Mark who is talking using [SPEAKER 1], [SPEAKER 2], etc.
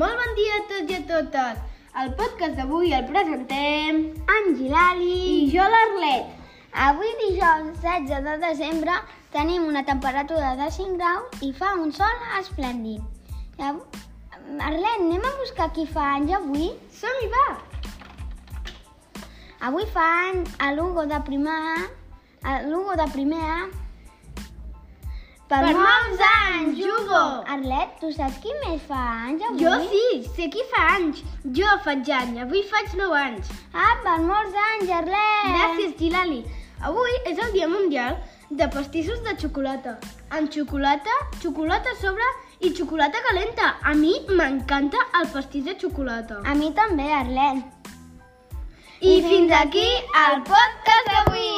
[SPEAKER 1] Molt bon dia a tots i a totes. El podcast d'avui el presentem...
[SPEAKER 2] en Gilali.
[SPEAKER 1] I jo l'Arlet.
[SPEAKER 2] Avui dijous 16 de desembre tenim una temperatura de 5 graus i fa un sol esplèndid. Llav- Arlet, anem a buscar qui fa anys avui?
[SPEAKER 1] Som-hi, va!
[SPEAKER 2] Avui fa any a Lugo de primer A, a Lugo de primer A.
[SPEAKER 1] Per
[SPEAKER 2] molts
[SPEAKER 1] molts anys, Hugo!
[SPEAKER 2] Arlet, tu saps qui més fa anys avui?
[SPEAKER 1] Jo sí, sé qui fa anys. Jo faig any, avui faig 9 anys.
[SPEAKER 2] Ah, per molts anys,
[SPEAKER 1] Eh.
[SPEAKER 2] Arlet!
[SPEAKER 1] Gràcies, Gilali. Avui és el Dia Mundial de Pastissos de Xocolata. Amb xocolata, xocolata a sobre i xocolata calenta. A mi m'encanta el pastís de xocolata.
[SPEAKER 2] A mi també, Arlet.
[SPEAKER 1] I fins aquí el podcast d'avui.